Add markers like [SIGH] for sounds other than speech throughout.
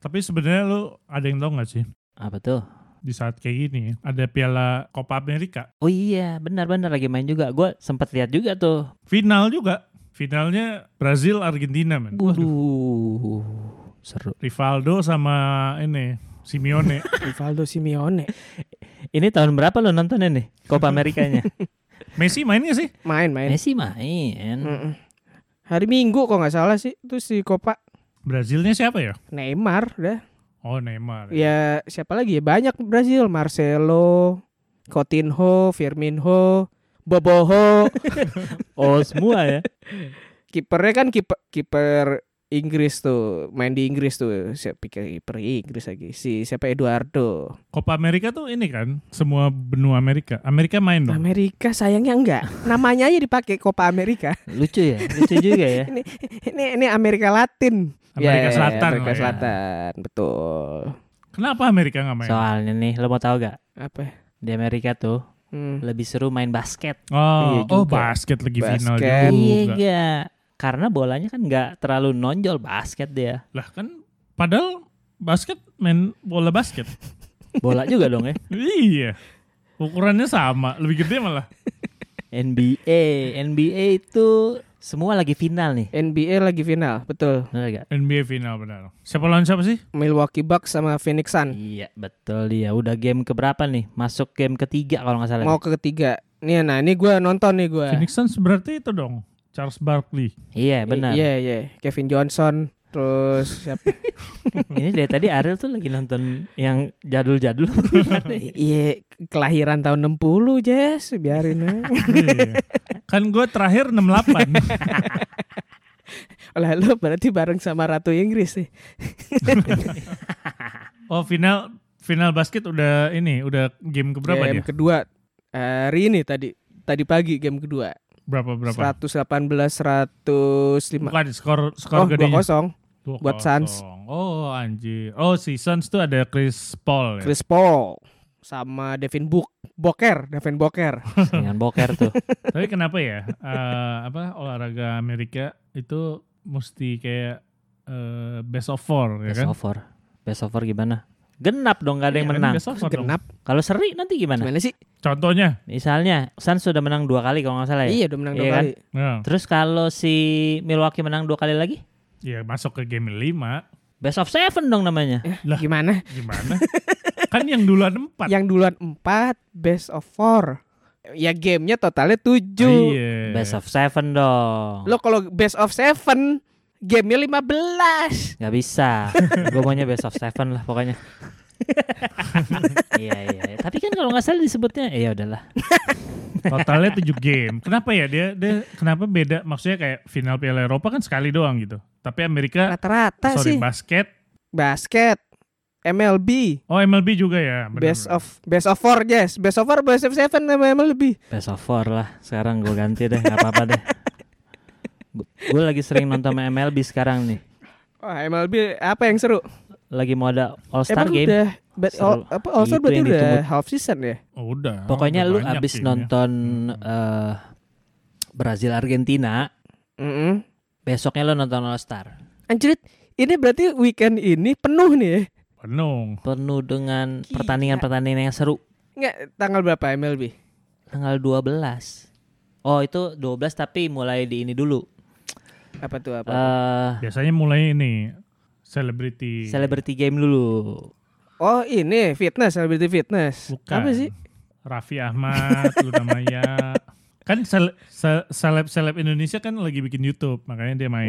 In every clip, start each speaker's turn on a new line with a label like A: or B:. A: Tapi sebenarnya lu ada yang tahu nggak sih
B: Apa tuh?
A: di saat kayak gini ada Piala Copa America
B: Oh iya, benar-benar lagi main juga. Gue sempat lihat juga tuh.
A: final juga. Finalnya Brazil Argentina men.
B: Waduh, seru.
A: Rivaldo sama ini Simeone.
C: Rivaldo Simeone
B: Ini tahun berapa lo nontonnya nih Copa Amerikanya?
A: Messi main nggak sih?
C: main-main.
B: Messi main.
C: Mm-mm. Hari Minggu kok nggak salah sih itu si Copa
A: Brazilnya siapa ya?
C: Neymar dah.
A: Oh Neymar.
C: Ya siapa lagi ya banyak Brazil Marcelo, Coutinho, Firmino, Boboho.
B: Oh semua ya.
C: Kipernya kan kiper kiper Inggris tuh main di Inggris tuh siapa pikir kiper Inggris lagi si siapa Eduardo
A: Copa America tuh ini kan semua benua Amerika. Amerika main dong.
C: Amerika sayangnya enggak namanya aja dipakai Copa Amerika
B: Lucu ya, lucu juga ya.
C: [LAUGHS] ini ini Amerika Latin
A: Amerika
C: Ya,
A: Selatan lah
C: Amerika
A: ya.
C: Selatan betul
A: Kenapa Amerika nggak main?
B: Soalnya nih, lo mau tahu gak?
C: apa ya?
B: Di Amerika tuh
C: Hmm.
B: lebih seru main basket. Iya
A: oh,
C: Iya
A: oh
C: juga.
A: basket lagi final
C: Basket.
A: Iya juga.
B: gak? Karena bolanya kan nggak terlalu nonjol basket dia.
A: Lah kan padahal basket main bola basket.
B: Bola juga dong ya.
A: iya. Ukurannya sama, lebih gede malah.
B: NBA, NBA itu semua lagi final nih.
C: NBA lagi final betul
B: Benar gak?
A: NBA final benar. Siapa lawan siapa
C: Eh.
A: sih?
C: Milwaukee Bucks sama Phoenix Sun
B: Iya betul dia. Udah game keberapa nih? Masuk game ketiga kalau nggak salah.
C: mau ke ketiga nih nah ini gue nonton nih gue
A: Phoenix Suns berarti itu dong. Charles Barkley.
B: Iya benar.
C: iya iya Kevin Johnson terus siapa
B: Ini dari tadi Ariel tuh lagi nonton yang
A: [LAUGHS]
B: jadul-jadul.
C: I- iya kelahiran tahun 60 Jess biarin aja.
A: [LAUGHS] Iya. kan gue terakhir 68.
C: Lalu berarti bareng sama Ratu Inggris nih.
A: Oh, final final basket udah ini, udah game keberapa
C: game
A: dia?
C: kedua hari ini tadi tadi pagi game kedua.
A: Berapa berapa?
C: 118 105.
A: Bukan skor skor
C: Oh,
A: gedenya.
C: 2-0.
A: Dua
C: buat
A: kosong.
C: Suns.
A: Oh, anjir. Oh, si Suns tuh ada Chris Paul ya.
C: Chris Paul sama Devin Book Boker, Devin Boker.
B: Dengan boker tuh.
A: Tapi kenapa ya? eh, apa olahraga Amerika itu mesti kayak eh, best of four ya
B: Best
A: kan?
B: over. Best over gimana? Genap dong gak ada yang
A: Iya kan,
B: menang.
A: best of four dong.
C: Genap
B: Kalau seri nanti gimana?
C: gimana sih?
A: Contohnya.
B: Misalnya Suns sudah menang dua kali kalau nggak salah ya.
C: Iya, udah menang dua
B: Iya kan?
C: kali.
A: Nah,
B: Terus kalau si Milwaukee menang dua kali lagi,
A: ya masuk ke game 5.
B: best of seven dong namanya.
A: Lah.
C: Gimana?
A: Gimana? kan yang duluan 4.
C: Yang duluan 4 best of 4. Ya gamenya totalnya 7.
A: Iya.
B: Best of seven dong.
C: Lo kalau best of 7 gamenya 15.
B: Gak bisa.
A: [LAUGHS]
B: Gue maunya best of seven lah pokoknya. iya iya. iya. Tapi kan kalau nggak salah disebutnya, ya udahlah.
A: Totalnya 7 game. Kenapa ya dia dia kenapa beda? Maksudnya kayak final Piala Eropa kan sekali doang gitu. Tapi Amerika
C: Rata-rata
A: sorry
C: sih.
A: basket.
C: basket, MLB,
A: Oh, MLB juga ya. bener.
C: best of best of four yes, best of four, best of seven sama MLB.
B: Best of four lah. Sekarang gue ganti deh, nggak apa-apa deh. Gue lagi sering nonton MLB sekarang nih.
C: Wah MLB apa yang seru?
B: Lagi mau ada All Star
C: Emang
B: Game.
C: udah but
B: Seru.
C: all, apa all star
B: Itu
C: berarti
B: yang
C: udah
B: ditunggu.
C: half season ya?
A: Oh, udah.
B: Pokoknya
A: Udah
B: lu
A: banyak
B: abis
A: timnya.
B: nonton
A: Hmm.
B: eh, Brazil Argentina,
C: Mm-mm.
B: besoknya lu nonton All Star.
C: Anjrit, ini berarti weekend ini penuh nih ya?
A: penuh.
B: Penuh dengan
C: Gila.
B: pertandingan-pertandingan yang seru.
C: Enggak, tanggal berapa MLB?
B: Tanggal 12. Oh, itu 12 tapi mulai di ini dulu.
C: Apa tuh apa?
B: Eh,
A: Biasanya mulai ini selebriti.
B: Celebrity game dulu.
C: oh ini fitness, celebrity fitness.
A: Bukan.
C: Apa sih?
A: Raffi Ahmad, Luna Maya. Kan sele- se- seleb-seleb Indonesia kan lagi bikin YouTube, makanya dia
C: [LAUGHS]
A: main.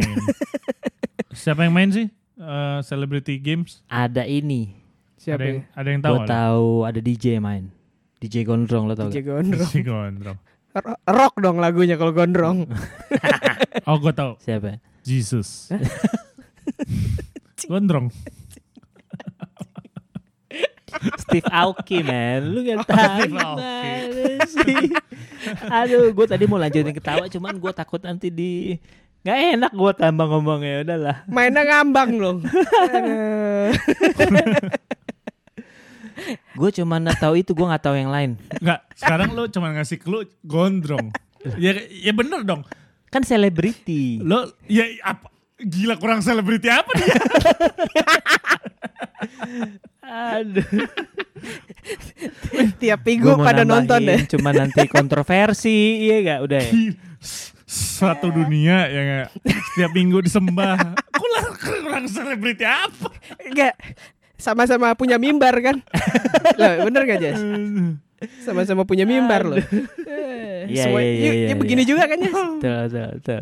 A: Siapa yang main sih? Eh, Celebrity Games?
B: Ada ini.
C: Siapa?
A: ada yang
C: ya?
A: ada yang tahu?
B: Gue
A: nggak?
B: tahu ada DJ main. DJ Gondrong lo tau
C: DJ
B: gak?
C: Gondrong.
A: [LAUGHS] Si Gondrong.
C: Ro- Rock dong lagunya kalau Gondrong.
A: Oh, gue tahu.
B: Siapa?
C: [LAUGHS]
A: Jesus. Gondrong.
B: Steve Aoki man Lu gak tau
A: Oh, Steve Aoki.
B: gimana sih Aduh gue tadi mau lanjutin ketawa Cuman gue takut nanti di Gak enak gue tambah ngomongnya Udahlah
C: Mainnya ngambang loh. Aduh.
B: Gue cuman tahu itu Gue gak tahu yang lain
A: Enggak, sekarang lu cuma ngasih clue
C: [LAUGHS]
A: Gondrong. ya ya bener dong.
B: Kan selebriti
A: Lo ya apa gila kurang selebriti apa dia?
B: Aduh.
C: Tiap minggu
B: Gua mau
C: pada nonton ya. deh.
B: nambahin, Cuma nanti kontroversi, iya gak? Udah ya?
A: Satu
C: Iya.
A: dunia ya nggak? Setiap minggu disembah. Kurang kurang selebriti apa?
C: Enggak. Sama-sama punya mimbar kan? loh, bener gak Jas? Sama-sama punya mimbar loh. Eh,
B: Iya,
C: semua-
B: iya, iya,
C: ya-
B: iya,
C: ya begini
B: iya.
C: juga kan Jas?
B: Betul, betul, betul.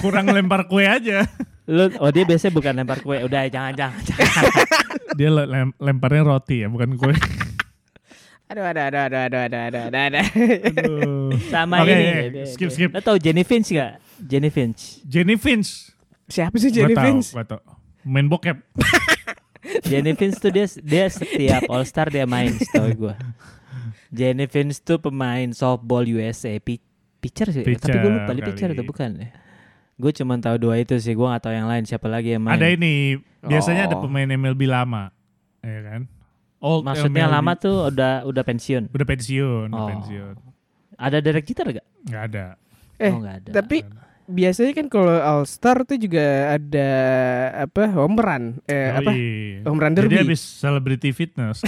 A: Kurang lempar kue aja.
B: Lu, oh dia biasanya bukan lempar kue. Udah, jangan, jangan, [LAUGHS] jangan.
A: Dia le- lem- lemparnya roti ya, bukan kue.
C: Aduh, aduh, aduh, aduh, aduh, aduh, aduh, aduh, aduh.
A: Aduh.
B: Sama
A: Oke,
B: ini.
A: oke, skip, skip.
B: Lo tau Jenny Finch gak? Jenny Finch.
A: Jenny Finch.
C: Siapa sih
A: Gua
C: Jenny
A: tahu,
C: Vince?
A: gua tahu. Main bokep.
B: Jenny Finch tuh dia dia setiap All Star dia main, setahu gue. Jenny Finch tuh pemain softball USA, Pi- pitcher sih. Tapi gue lupa
A: Pitcher
B: dia pitcher
A: kali.
B: atau bukan ya. Gue cuma tahu dua itu sih, gue gak tahu yang lain siapa lagi yang main.
A: Ada ini, biasanya ada
C: Oh.
A: pemain MLB lama. Ya kan? Old
B: Maksudnya
A: MLB.
B: lama tuh udah udah pensiun.
A: Udah pensiun, udah
B: Oh.
A: pensiun.
B: Ada Derek Jeter gak?
A: Nggak ada.
C: Eh,
B: oh, gak ada.
C: Tapi biasanya kan kalau All Star tuh juga ada apa home run eh, apa
A: Yoi.
C: home run
A: Jadi
C: derby.
A: habis celebrity
C: [LAUGHS]
A: fitness,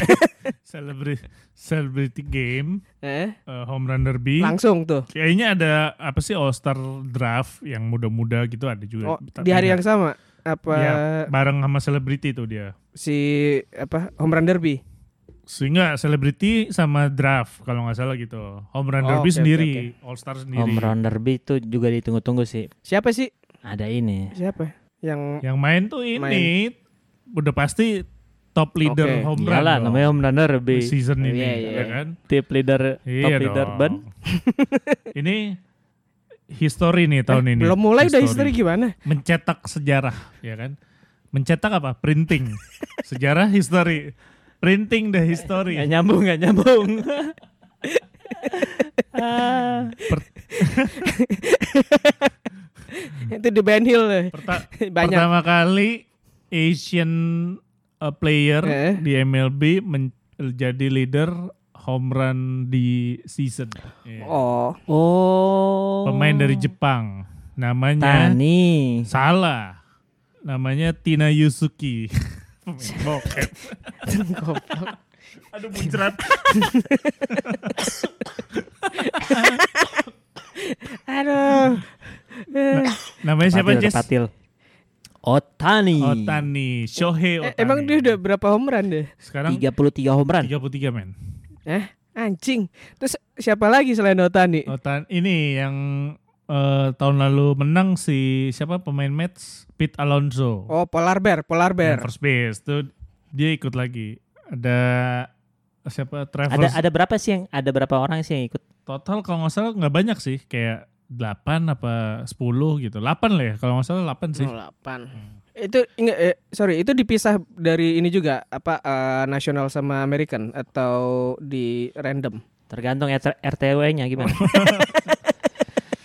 A: celebrity celebrity game,
C: Eh,
A: eh, home run derby.
C: langsung tuh.
A: Kayaknya ada apa sih All Star Draft yang muda-muda gitu ada juga.
C: Oh, di hari yang sama apa
A: Iya, bareng sama selebriti tuh dia.
C: si apa home run derby?
A: Sehingga selebriti sama draft kalau nggak salah gitu. Home run
C: Oh,
A: derby
C: oke, oke,
A: sendiri, All Star sendiri.
B: Home run derby itu juga ditunggu-tunggu sih.
C: Siapa sih?
B: Ada ini.
C: Siapa? Yang
A: Yang main tuh ini udah pasti top leader
C: Oke.
A: home run.
B: Iyalah
A: dong.
B: namanya home run derby. Oh,
A: season ini,
C: Iya, iya,
A: ya
C: iya.
A: kan?
B: Tip leader, top
A: Iya
B: leader
A: dong.
B: ban.
A: ini history nih tahun ini.
C: Eh, belum mulai udah history gimana?
A: Mencetak sejarah, ya kan? Mencetak apa?
C: [LAUGHS]
A: Printing. sejarah history. Printing the
B: Gak
A: history.
B: nyambung, gak nyambung. Ah,
A: Hmm.
C: Itu di Ben Hill eh.
A: Perta-
C: [LAUGHS] banyak.
A: Pertama kali Asian uh, player
C: Eh.
A: di MLB menjadi leader home run di season. Iya.
C: Oh,
B: [LAUGHS] oh.
A: Pemain dari Jepang. Namanya
B: Tani.
A: Salah. Namanya Tina Yuzuki. [LAUGHS]
C: [LAUGHS]
A: Pemain bokep.
C: goblok.
A: Aduh
C: [LAUGHS]
A: muncrat.
C: Aduh.
A: Nah,
C: Eh,
A: Namanya siapa,
B: Patil,
A: Jess? Oh,
B: Patil. Oh, Otani.
A: Otani. Shohei Otani.
C: Eh, emang dia udah kan? berapa home run deh?
A: Sekarang 33,
B: 33 home run.
A: men.
C: Anjing. Terus siapa lagi selain Otani?
A: Otani. Ini yang eh, tahun lalu menang si siapa pemain Mets? Pete Alonso.
C: Oh, Polar Bear, Polar
A: Yang
C: Bear.
A: First base. Tuh dia ikut lagi. Ada siapa?
B: Ada
A: Travers.
B: ada berapa sih yang ada berapa orang sih yang ikut?
A: Total kalau nggak salah nggak banyak sih. Kayak 8 apa 10 gitu. 8 lah ya. Kalau nggak salah 8
C: Hmm.
A: sih.
C: 08. Itu ingat eh, sorry, itu dipisah dari ini juga apa eh, nasional sama American atau di random.
B: Tergantung RTW-nya
A: [LAUGHS]
B: gimana.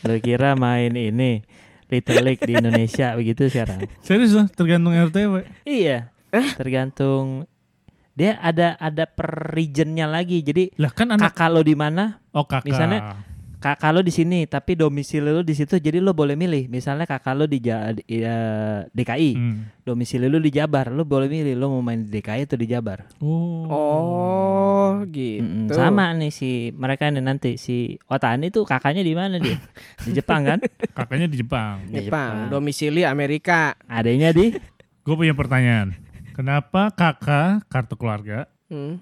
B: Lu kira main ini Little League di Indonesia begitu sekarang?
A: [LAUGHS] Serius lah tergantung RTW.
B: Iya. Tergantung dia ada ada per regionnya lagi. Jadi
A: Lah kan anak
B: kakak lo di mana?
A: oh kakak.
B: misalnya- Kakak lo di sini, tapi domisili lo di situ. Jadi lo boleh milih. Misalnya kakak lo di Ja- di, eh, DKI,
A: Hmm.
B: domisili lo di Jabar, lo boleh milih lo mau main di DKI atau di Jabar.
C: Oh, gitu.
A: Hmm,
B: Mm-mm, Sama nih si mereka ini nanti si Otani tuh kakaknya di mana dia? Di Jepang kan?
A: Kakaknya di Jepang.
B: Di
C: Jepang, domisili Amerika.
B: Adanya di
A: Gue punya pertanyaan. Kenapa kakak kartu keluarga
C: Hmm.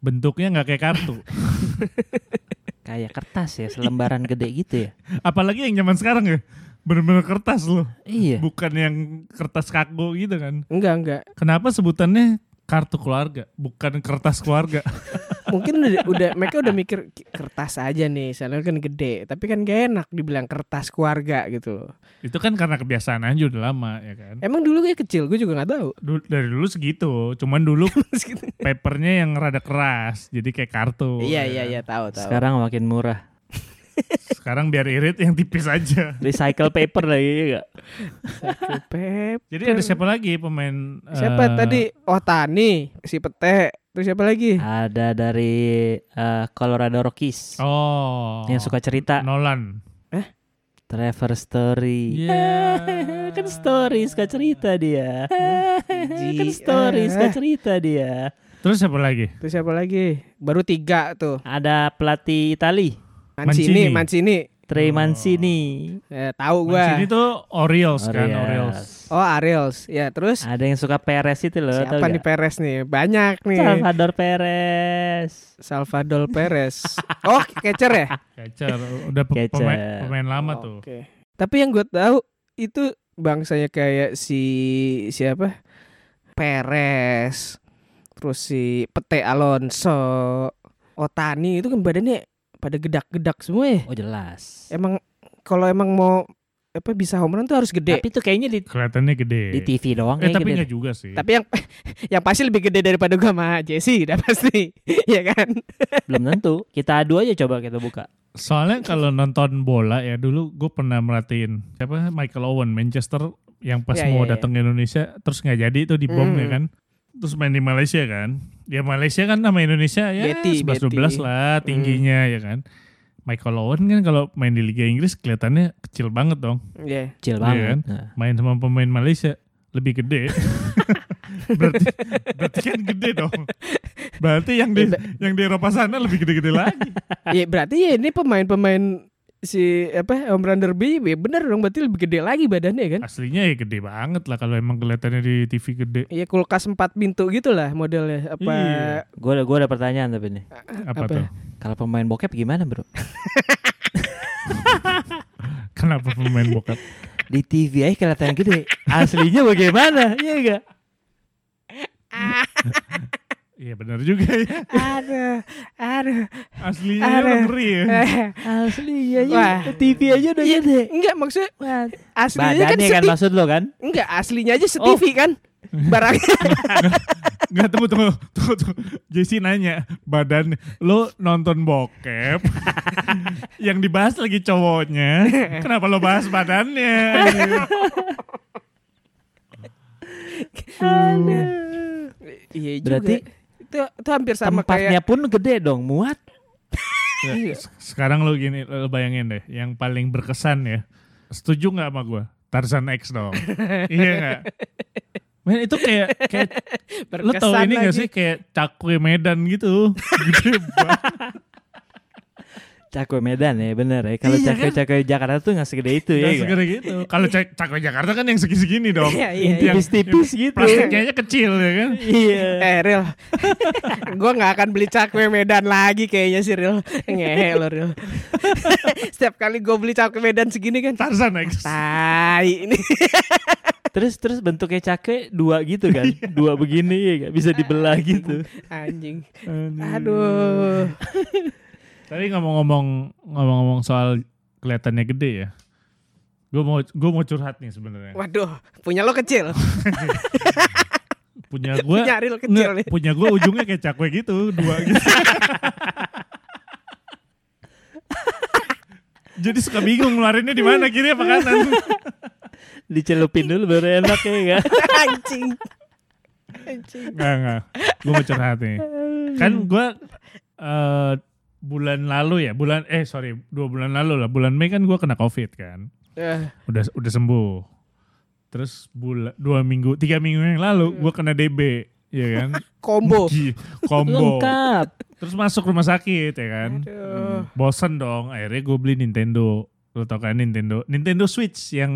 A: bentuknya nggak kayak kartu?
B: kayak kertas ya, selembaran gede gitu ya.
A: Apalagi yang zaman sekarang ya. Bener-bener kertas loh.
B: Iya.
A: Bukan yang kertas kaku gitu kan.
C: Enggak, enggak.
A: Kenapa sebutannya kartu keluarga? Bukan kertas keluarga.
C: Mungkin udah, udah mereka udah mikir "Ki- kertas aja nih, soalnya kan gede. Tapi kan gak enak dibilang kertas keluarga gitu loh.
A: Itu kan karena kebiasaan aja udah lama ya kan.
C: Emang dulu kayak kecil, gue juga nggak tahu. [LAUGHS]
A: Du- dari dulu segitu. Cuman dulu
C: Terus gitu.
A: papernya yang rada keras. Jadi kayak kartu. ya
C: Iya, iya,
A: kan.
C: iya, tahu, tahu.
B: Sekarang makin murah.
A: Sekarang biar irit yang tipis aja.
B: Recycle paper lagi ya nggak?
C: Pep.
A: Jadi ada siapa lagi pemain
C: Siapa
A: eh,
C: tadi? Otani, si Pete. Terus siapa lagi?
B: Ada dari eh, Colorado Rockies
A: Oh.
B: yang suka cerita
A: Nolan.
B: Trevor Story.
A: Yeah.
B: [LAUGHS] kan story suka cerita dia. kan story suka cerita dia.
A: Terus siapa lagi?
C: Terus siapa lagi? Baru tiga tuh.
B: Ada pelatih Itali,
C: Mancini,
A: Mancini.
C: Mancini.
A: Oh.
B: Trey Mancini.
C: Eh, tahu
A: Mancini
C: gua.
A: tuh Orioles, kan,
B: Arias.
A: Orioles.
C: Oh, Ariels. Ya, terus
B: Ada yang suka Perez itu loh,
C: siapa nih Perez nih? Banyak nih.
B: Salvador Perez.
C: Salvador Perez. [LAUGHS] oh, catcher ya?
A: Catcher, udah pe-
B: Catcher.
A: Pemain, pemain lama tuh.
C: Oke. Tapi yang gue tahu itu bangsanya kayak si siapa? Perez. Terus si Pete Alonso, Otani itu kan badannya pada gedak-gedak semua ya.
B: Oh jelas.
C: Emang kalau emang mau apa bisa home run tuh harus gede.
B: Tapi itu kayaknya di
A: Kelihatannya gede.
B: di TV doang
A: eh
B: kayak
A: tapi
B: gitu.
A: nggak juga sih.
C: Tapi yang [LAUGHS] yang pasti lebih gede daripada gua sama Jesse udah pasti. [LAUGHS] ya kan?
B: Belum tentu. Kita adu aja coba kita buka.
A: Soalnya kalau nonton bola ya dulu gue pernah merhatiin siapa Michael Owen Manchester yang pas
C: Ya,
A: mau
C: ya, ya.
A: datang ke Indonesia terus nggak jadi itu dibom
C: Mm.
A: ya kan. Terus main di Malaysia kan. Ya Malaysia kan sama Indonesia ya
C: Betty,
A: 11 12
C: Betty.
A: lah tingginya ya kan. Michael Owen kan kalau main di Liga Inggris kelihatannya kecil banget dong.
C: Iya.
B: Kecil
A: Iya
B: banget.
A: kan?
B: Nah.
A: Main sama pemain Malaysia lebih
C: [LAUGHS]
A: gede. berarti berarti kan gede dong. Berarti yang di yang di Eropa sana lebih
C: [LAUGHS]
A: gede-gede lagi.
C: Ya berarti ya ini pemain-pemain si apa home run derby ya bener dong berarti lebih gede lagi badannya kan?
A: Aslinya ya gede banget lah kalau emang kelihatannya di TV gede.
C: Iya kulkas empat pintu gitu lah modelnya apa
A: Iya.
B: Gue ada, gua ada pertanyaan tapi nih.
A: apa,
C: Apa?
A: tuh?
C: ya?
B: Kalau pemain bokep gimana bro?
A: Kenapa pemain bokap?
B: Di TV aja kelihatan gede. Aslinya bagaimana? Iya enggak?
A: Iya benar juga ya.
C: aduh aduh
A: Aslinya
C: Ada.
A: ngeri ya.
B: Aslinya aja.
C: Wah.
B: Di TV aja udah
C: Iya,
B: gede.
C: enggak maksudnya
B: Wah.
C: aslinya kan,
B: Badannya kan
C: seti-
B: maksud lo kan?
C: enggak aslinya aja setivi kan barangnya
A: Nggak tunggu tunggu tunggu. tunggu. Jesse nanya badan lo nonton
C: [LAUGHS]
A: bokep yang dibahas lagi cowoknya. Kenapa lo bahas badannya?
C: [LAUGHS] iya juga
B: Berarti
C: itu, itu hampir sama
B: Tempatnya
C: kayak
B: pun gede dong, muat.
A: Ya, se- Sekarang lo gini lo bayangin deh yang paling berkesan ya. Setuju nggak sama gue? Tarzan X
C: [LAUGHS]
A: dong. iya nggak? Men itu kayak kayak lo tau
C: berkesan
A: ini nggak
C: lagi.
A: sih kayak cakwe Medan gitu. Gede banget.
B: Cakwe Medan ya bener ya. Kalau
A: Iya, kan?
B: cakwe-cakwe Jakarta tuh nggak segede itu
A: Nah,
B: ya. nggak?
A: segera gitu. Kalau cak cakwe Jakarta kan yang segini-segini dong.
C: [LAUGHS] Iya, iya,
B: Yang
A: Yang-
B: tipis-tipis gitu.
A: Plastiknya aja kecil ya kan.
B: Iya.
C: eh Ril [LAUGHS] gue nggak akan beli cakwe Medan lagi kayaknya sih Ril ngehe lo Ril [LAUGHS] setiap kali gue beli cakwe Medan segini kan
A: Tarzan X.
C: tai ini
B: Terus terus bentuknya cakwe dua gitu kan. dua begini ya nggak? bisa dibelah gitu.
C: anjing aduh
A: Tadi ngomong-ngomong ngomong-ngomong soal kelihatannya gede ya. Gue mau gue mau curhat nih sebenarnya.
C: waduh punya lo kecil
A: Punya gue
C: [LAUGHS] punya Ril kecil ya. nih
A: punya gue ujungnya kayak cakwe gitu, dua gitu. Jadi suka bingung ngeluarinnya di mana kiri apa kanan.
B: Dicelupin dulu baru enak ya enggak?
C: [LAUGHS] anjing anjing
A: Enggak, enggak. Gue mau curhat nih. Kan gue eh, bulan lalu ya, bulan eh sorry dua bulan lalu lah, bulan Mei kan gue kena covid kan,
C: Eh,
A: udah udah sembuh. Terus bulan dua minggu, tiga minggu yang lalu gue kena DB, ya kan?
C: combo
A: Gi- Combo.
B: Lengkap.
A: Terus masuk rumah sakit ya kan?
C: Iya. Aduh.
A: Bosen dong, akhirnya gue beli Nintendo. Lo tau kan Nintendo, Nintendo Switch yang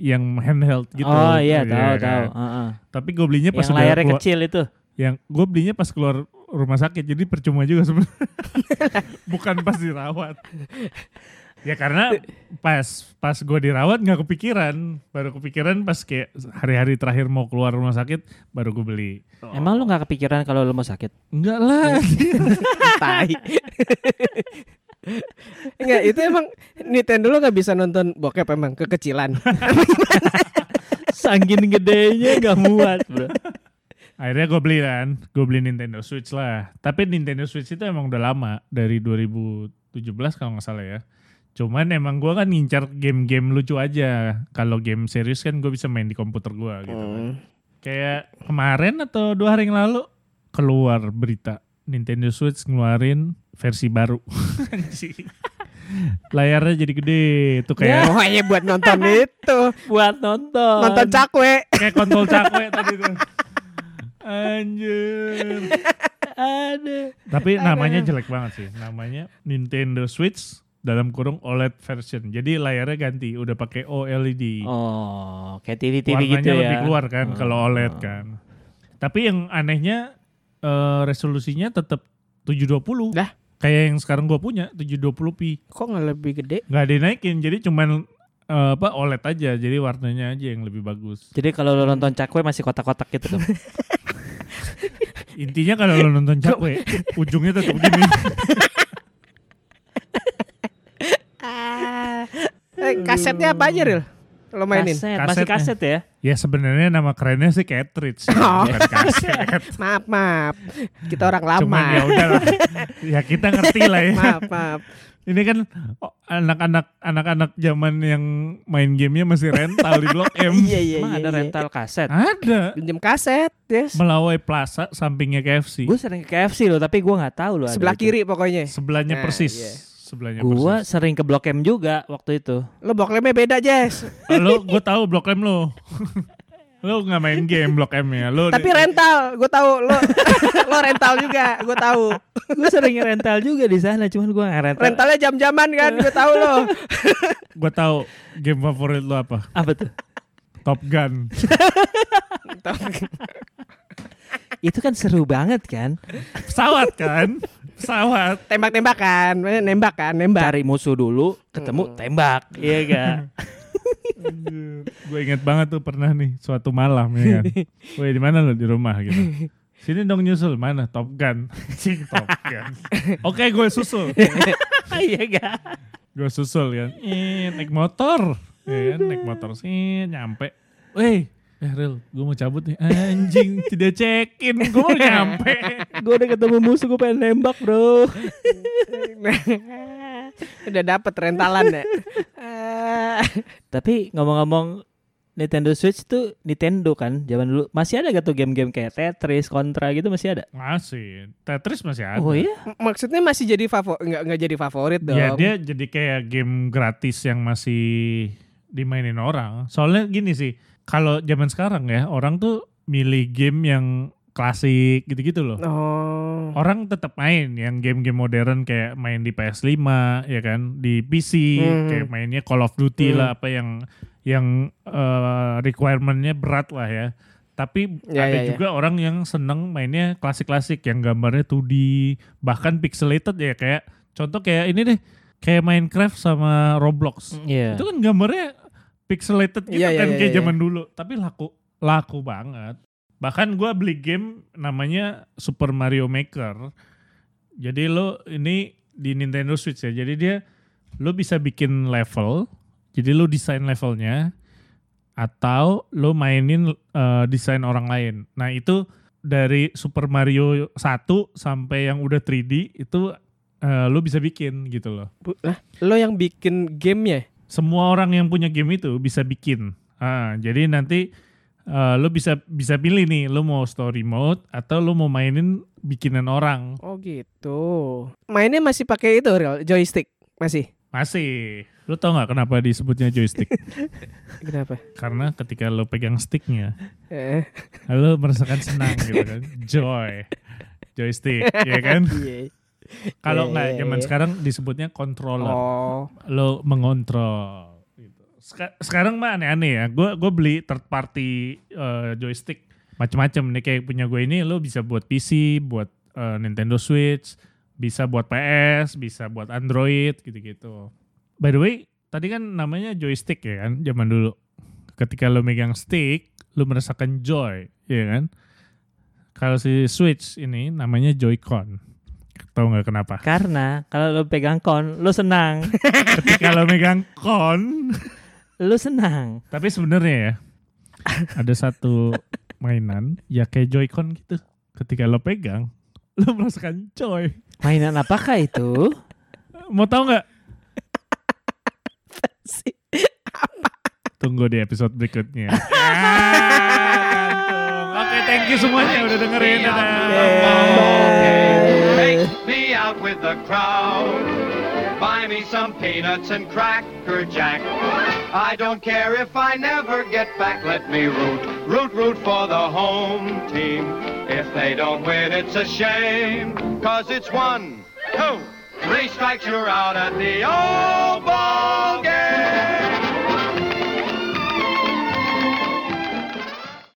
A: yang handheld gitu.
B: oh iya
A: ya
B: tahu tahu.
A: kan?
B: Heeh.
A: Tapi gue belinya pas
B: Yang
A: udah
B: layarnya
A: keluar-
B: kecil itu.
A: yang gue belinya pas keluar rumah sakit jadi percuma juga sebenarnya
B: [LAUGHS]
A: bukan pas dirawat ya karena pas pas gue dirawat nggak kepikiran baru kepikiran pas kayak hari-hari terakhir mau keluar rumah sakit baru gue beli
B: Emang lu nggak kepikiran kalau lu mau sakit? [LAUGHS]
A: enggak lah
C: tai Enggak, itu emang Nintendo lo gak bisa nonton bokep emang kekecilan.
B: Sangkin gedenya nggak muat, Bro.
A: akhirnya gue beli kan gue beli Nintendo Switch lah tapi Nintendo Switch itu emang udah lama dari 2017 kalau nggak salah ya cuman emang gue kan ngincar game-game lucu aja kalau game serius kan gue bisa main di komputer gue gitu
C: Hmm.
A: kan kayak kemarin atau dua hari yang lalu keluar berita Nintendo Switch ngeluarin versi baru. [LAUGHS] Anjing. Layarnya jadi gede tuh kayak
C: Oh hanya buat nonton itu
B: buat nonton.
C: Nonton cakwe
A: kayak kontol cakwe tadi tuh. Anjir.
B: Ada.
A: Tapi namanya jelek banget sih. Namanya Nintendo Switch dalam kurung OLED version. Jadi layarnya ganti, udah pakai OLED.
B: Oh, kayak TV-TV
A: Warnanya
B: gitu ya.
A: lebih keluar kan
B: Oh.
A: kalau OLED kan. Tapi yang anehnya eh, resolusinya tetap 720.
C: Dah.
A: Kayak yang sekarang gua punya 720p.
C: Kok nggak lebih gede?
A: nggak ada yang naikin, jadi cuman eh, apa OLED aja. Jadi warnanya aja yang lebih bagus.
B: Jadi kalau lo nonton cakwe masih kotak-kotak gitu dong.
A: Intinya kalau lo nonton cakwe,
B: [LAUGHS]
A: ujungnya tetap gini.
C: Eh, kasetnya apa aja Ril? Lo [LAUGHS] mainin?
B: Kaset, masih
A: Kasetnya.
B: kaset ya.
A: ya sebenarnya nama kerennya sih cartridge, ya,
C: Oh.
A: bukan kaset.
C: Maaf maaf Kita orang lama
A: Cuman ya
C: [LAUGHS]
A: udahlah. ya kita ngerti lah ya.
C: Maaf maaf
A: Ini kan oh, anak-anak anak-anak zaman yang main gamenya masih rental di Blok M.
C: Iya iya
B: Emang
C: iya
B: ada
C: iya.
B: rental kaset.
A: Ada
C: Pinjem kaset yes.
A: Melawai Plaza sampingnya KFC.
B: Gue sering ke KFC loh, tapi gue nggak tahu loh. ada
C: Sebelah
B: itu.
C: kiri pokoknya
A: Sebelahnya
C: Nah,
A: persis.
C: iya.
A: Sebelahnya
B: Gue
A: persis.
B: sering ke Blok M juga waktu itu.
C: Lo boklemnya beda Jess
A: Lo gue tahu Blok M lo. [LAUGHS] lo nggak main game Blok M ya. Lo
C: Tapi rental Gue tahu Lo [LAUGHS] lo rental juga Gue tahu
B: Gue sering rental juga di sana, cuman gue nggak rental.
C: Rentalnya jam-jaman kan Gue tahu lo
A: gue tahu game favorit lo apa?
B: Apa tuh?
A: Top Gun.
B: Itu kan seru banget kan?
A: Pesawat kan? Pesawat.
C: Tembak-tembakan eh, Nembak kan Nembak
B: Cari musuh dulu, ketemu
C: Hmm.
B: tembak, iya gak?
A: gue inget banget tuh pernah nih suatu malam ya [LAUGHS] kan. Woi di mana lo di rumah gitu. Sini dong nyusul mana Top Gun. [LAUGHS] Cing Top Gun. Oke gue susul.
B: Iya gak?
A: Gue susul kan. Ih, naik motor. Ya kan, naik motor sih nyampe. Woi, eh Ril, gue mau cabut nih. Anjing, tidak cekin. Gue mau nyampe.
B: Gue udah ketemu musuh, gue pengen nembak bro.
C: [LAUGHS] Udah dapet rentalan ya Eh,
B: Tapi ngomong-ngomong Nintendo Switch tuh Nintendo kan zaman dulu masih ada gak tuh game-game kayak Tetris, Contra gitu masih ada?
A: Masih. Tetris masih ada.
B: Oh iya?
C: Maksudnya masih jadi favorit nggak, nggak jadi favorit dong
A: Ya dia jadi kayak game gratis yang masih dimainin orang. Soalnya gini sih, kalau zaman sekarang ya orang tuh milih game yang klasik gitu-gitu loh.
C: Oh
A: Orang tetap main yang game-game modern kayak main di PS5 ya kan, di PC
C: Hmm.
A: kayak mainnya Call of Duty
C: Hmm.
A: lah apa yang yang eh, requirement-nya berat lah ya. Tapi
C: Ya,
A: ada
C: ya, ya.
A: juga orang yang seneng mainnya klasik-klasik yang gambarnya 2D bahkan pixelated ya kayak contoh kayak ini deh kayak Minecraft sama
C: Hmm.
A: Roblox.
B: Iya.
A: Itu kan gambarnya pixelated gitu
C: Iya, iya,
A: kan
C: iya,
A: kayak
C: iya.
A: zaman dulu, tapi laku laku banget. Bahkan gua beli game namanya Super Mario Maker. Jadi lo ini di Nintendo Switch ya. Jadi dia lo bisa bikin level. Jadi lo desain levelnya atau lo mainin eh, desain orang lain. Nah, itu dari Super Mario 1 sampai yang udah 3D itu eh, lo bisa bikin gitu loh.
C: Bu- lah, Lo yang bikin gamenya
A: Semua orang yang punya game itu bisa bikin. Ah, jadi nanti eh, lo bisa bisa pilih nih lo mau story mode atau lo mau mainin bikinan orang.
C: Oh gitu Mainnya masih pakai itu real Joystick Masih
A: Masih. Lo tau nggak kenapa disebutnya
C: [LAUGHS]
A: joystick?
C: Kenapa
A: Karena ketika lo pegang sticknya,
C: Eh,
A: lo merasakan senang gitu
C: [LAUGHS]
A: kan. Joy. Joystick, ya kan?
C: iya.
A: Kalau
C: Iya,
A: nggak
C: iya,
A: zaman
C: iya.
A: sekarang disebutnya controller.
C: Oh
A: Lo mengontrol. gitu. Seka- sekarang mah aneh-aneh ya. Gue gue beli third party eh, joystick macam-macam nih kayak punya gue ini. Lo bisa buat PC, buat eh, Nintendo Switch, bisa buat PS, bisa buat Android gitu-gitu. By the way, tadi kan namanya joystick ya kan zaman dulu. Ketika lo megang stick, lo merasakan joy, ya kan? Kalau si Switch ini namanya Joy-Con. Tahu nggak kenapa?
B: [LAUGHS] Karena kalau lo pegang kon, lo [LAUGHS] senang,
A: ketika lo megang kon
B: lo senang.
A: tapi sebenarnya ya ada satu mainan ya kayak joycon gitu ketika lo pegang lo merasakan joy
B: Mainan apakah itu?
A: mau tahu nggak tunggu di episode berikutnya Ah, oke thank you semuanya udah dengerin Dadah.
C: Eh.
D: Take me out. out with the crowd. Buy me some peanuts and cracker jack. I don't care if I never get back. Let me root, root, root for the home team. If they don't win, it's a shame. Cause it's one, two, three strikes, you're out at the old.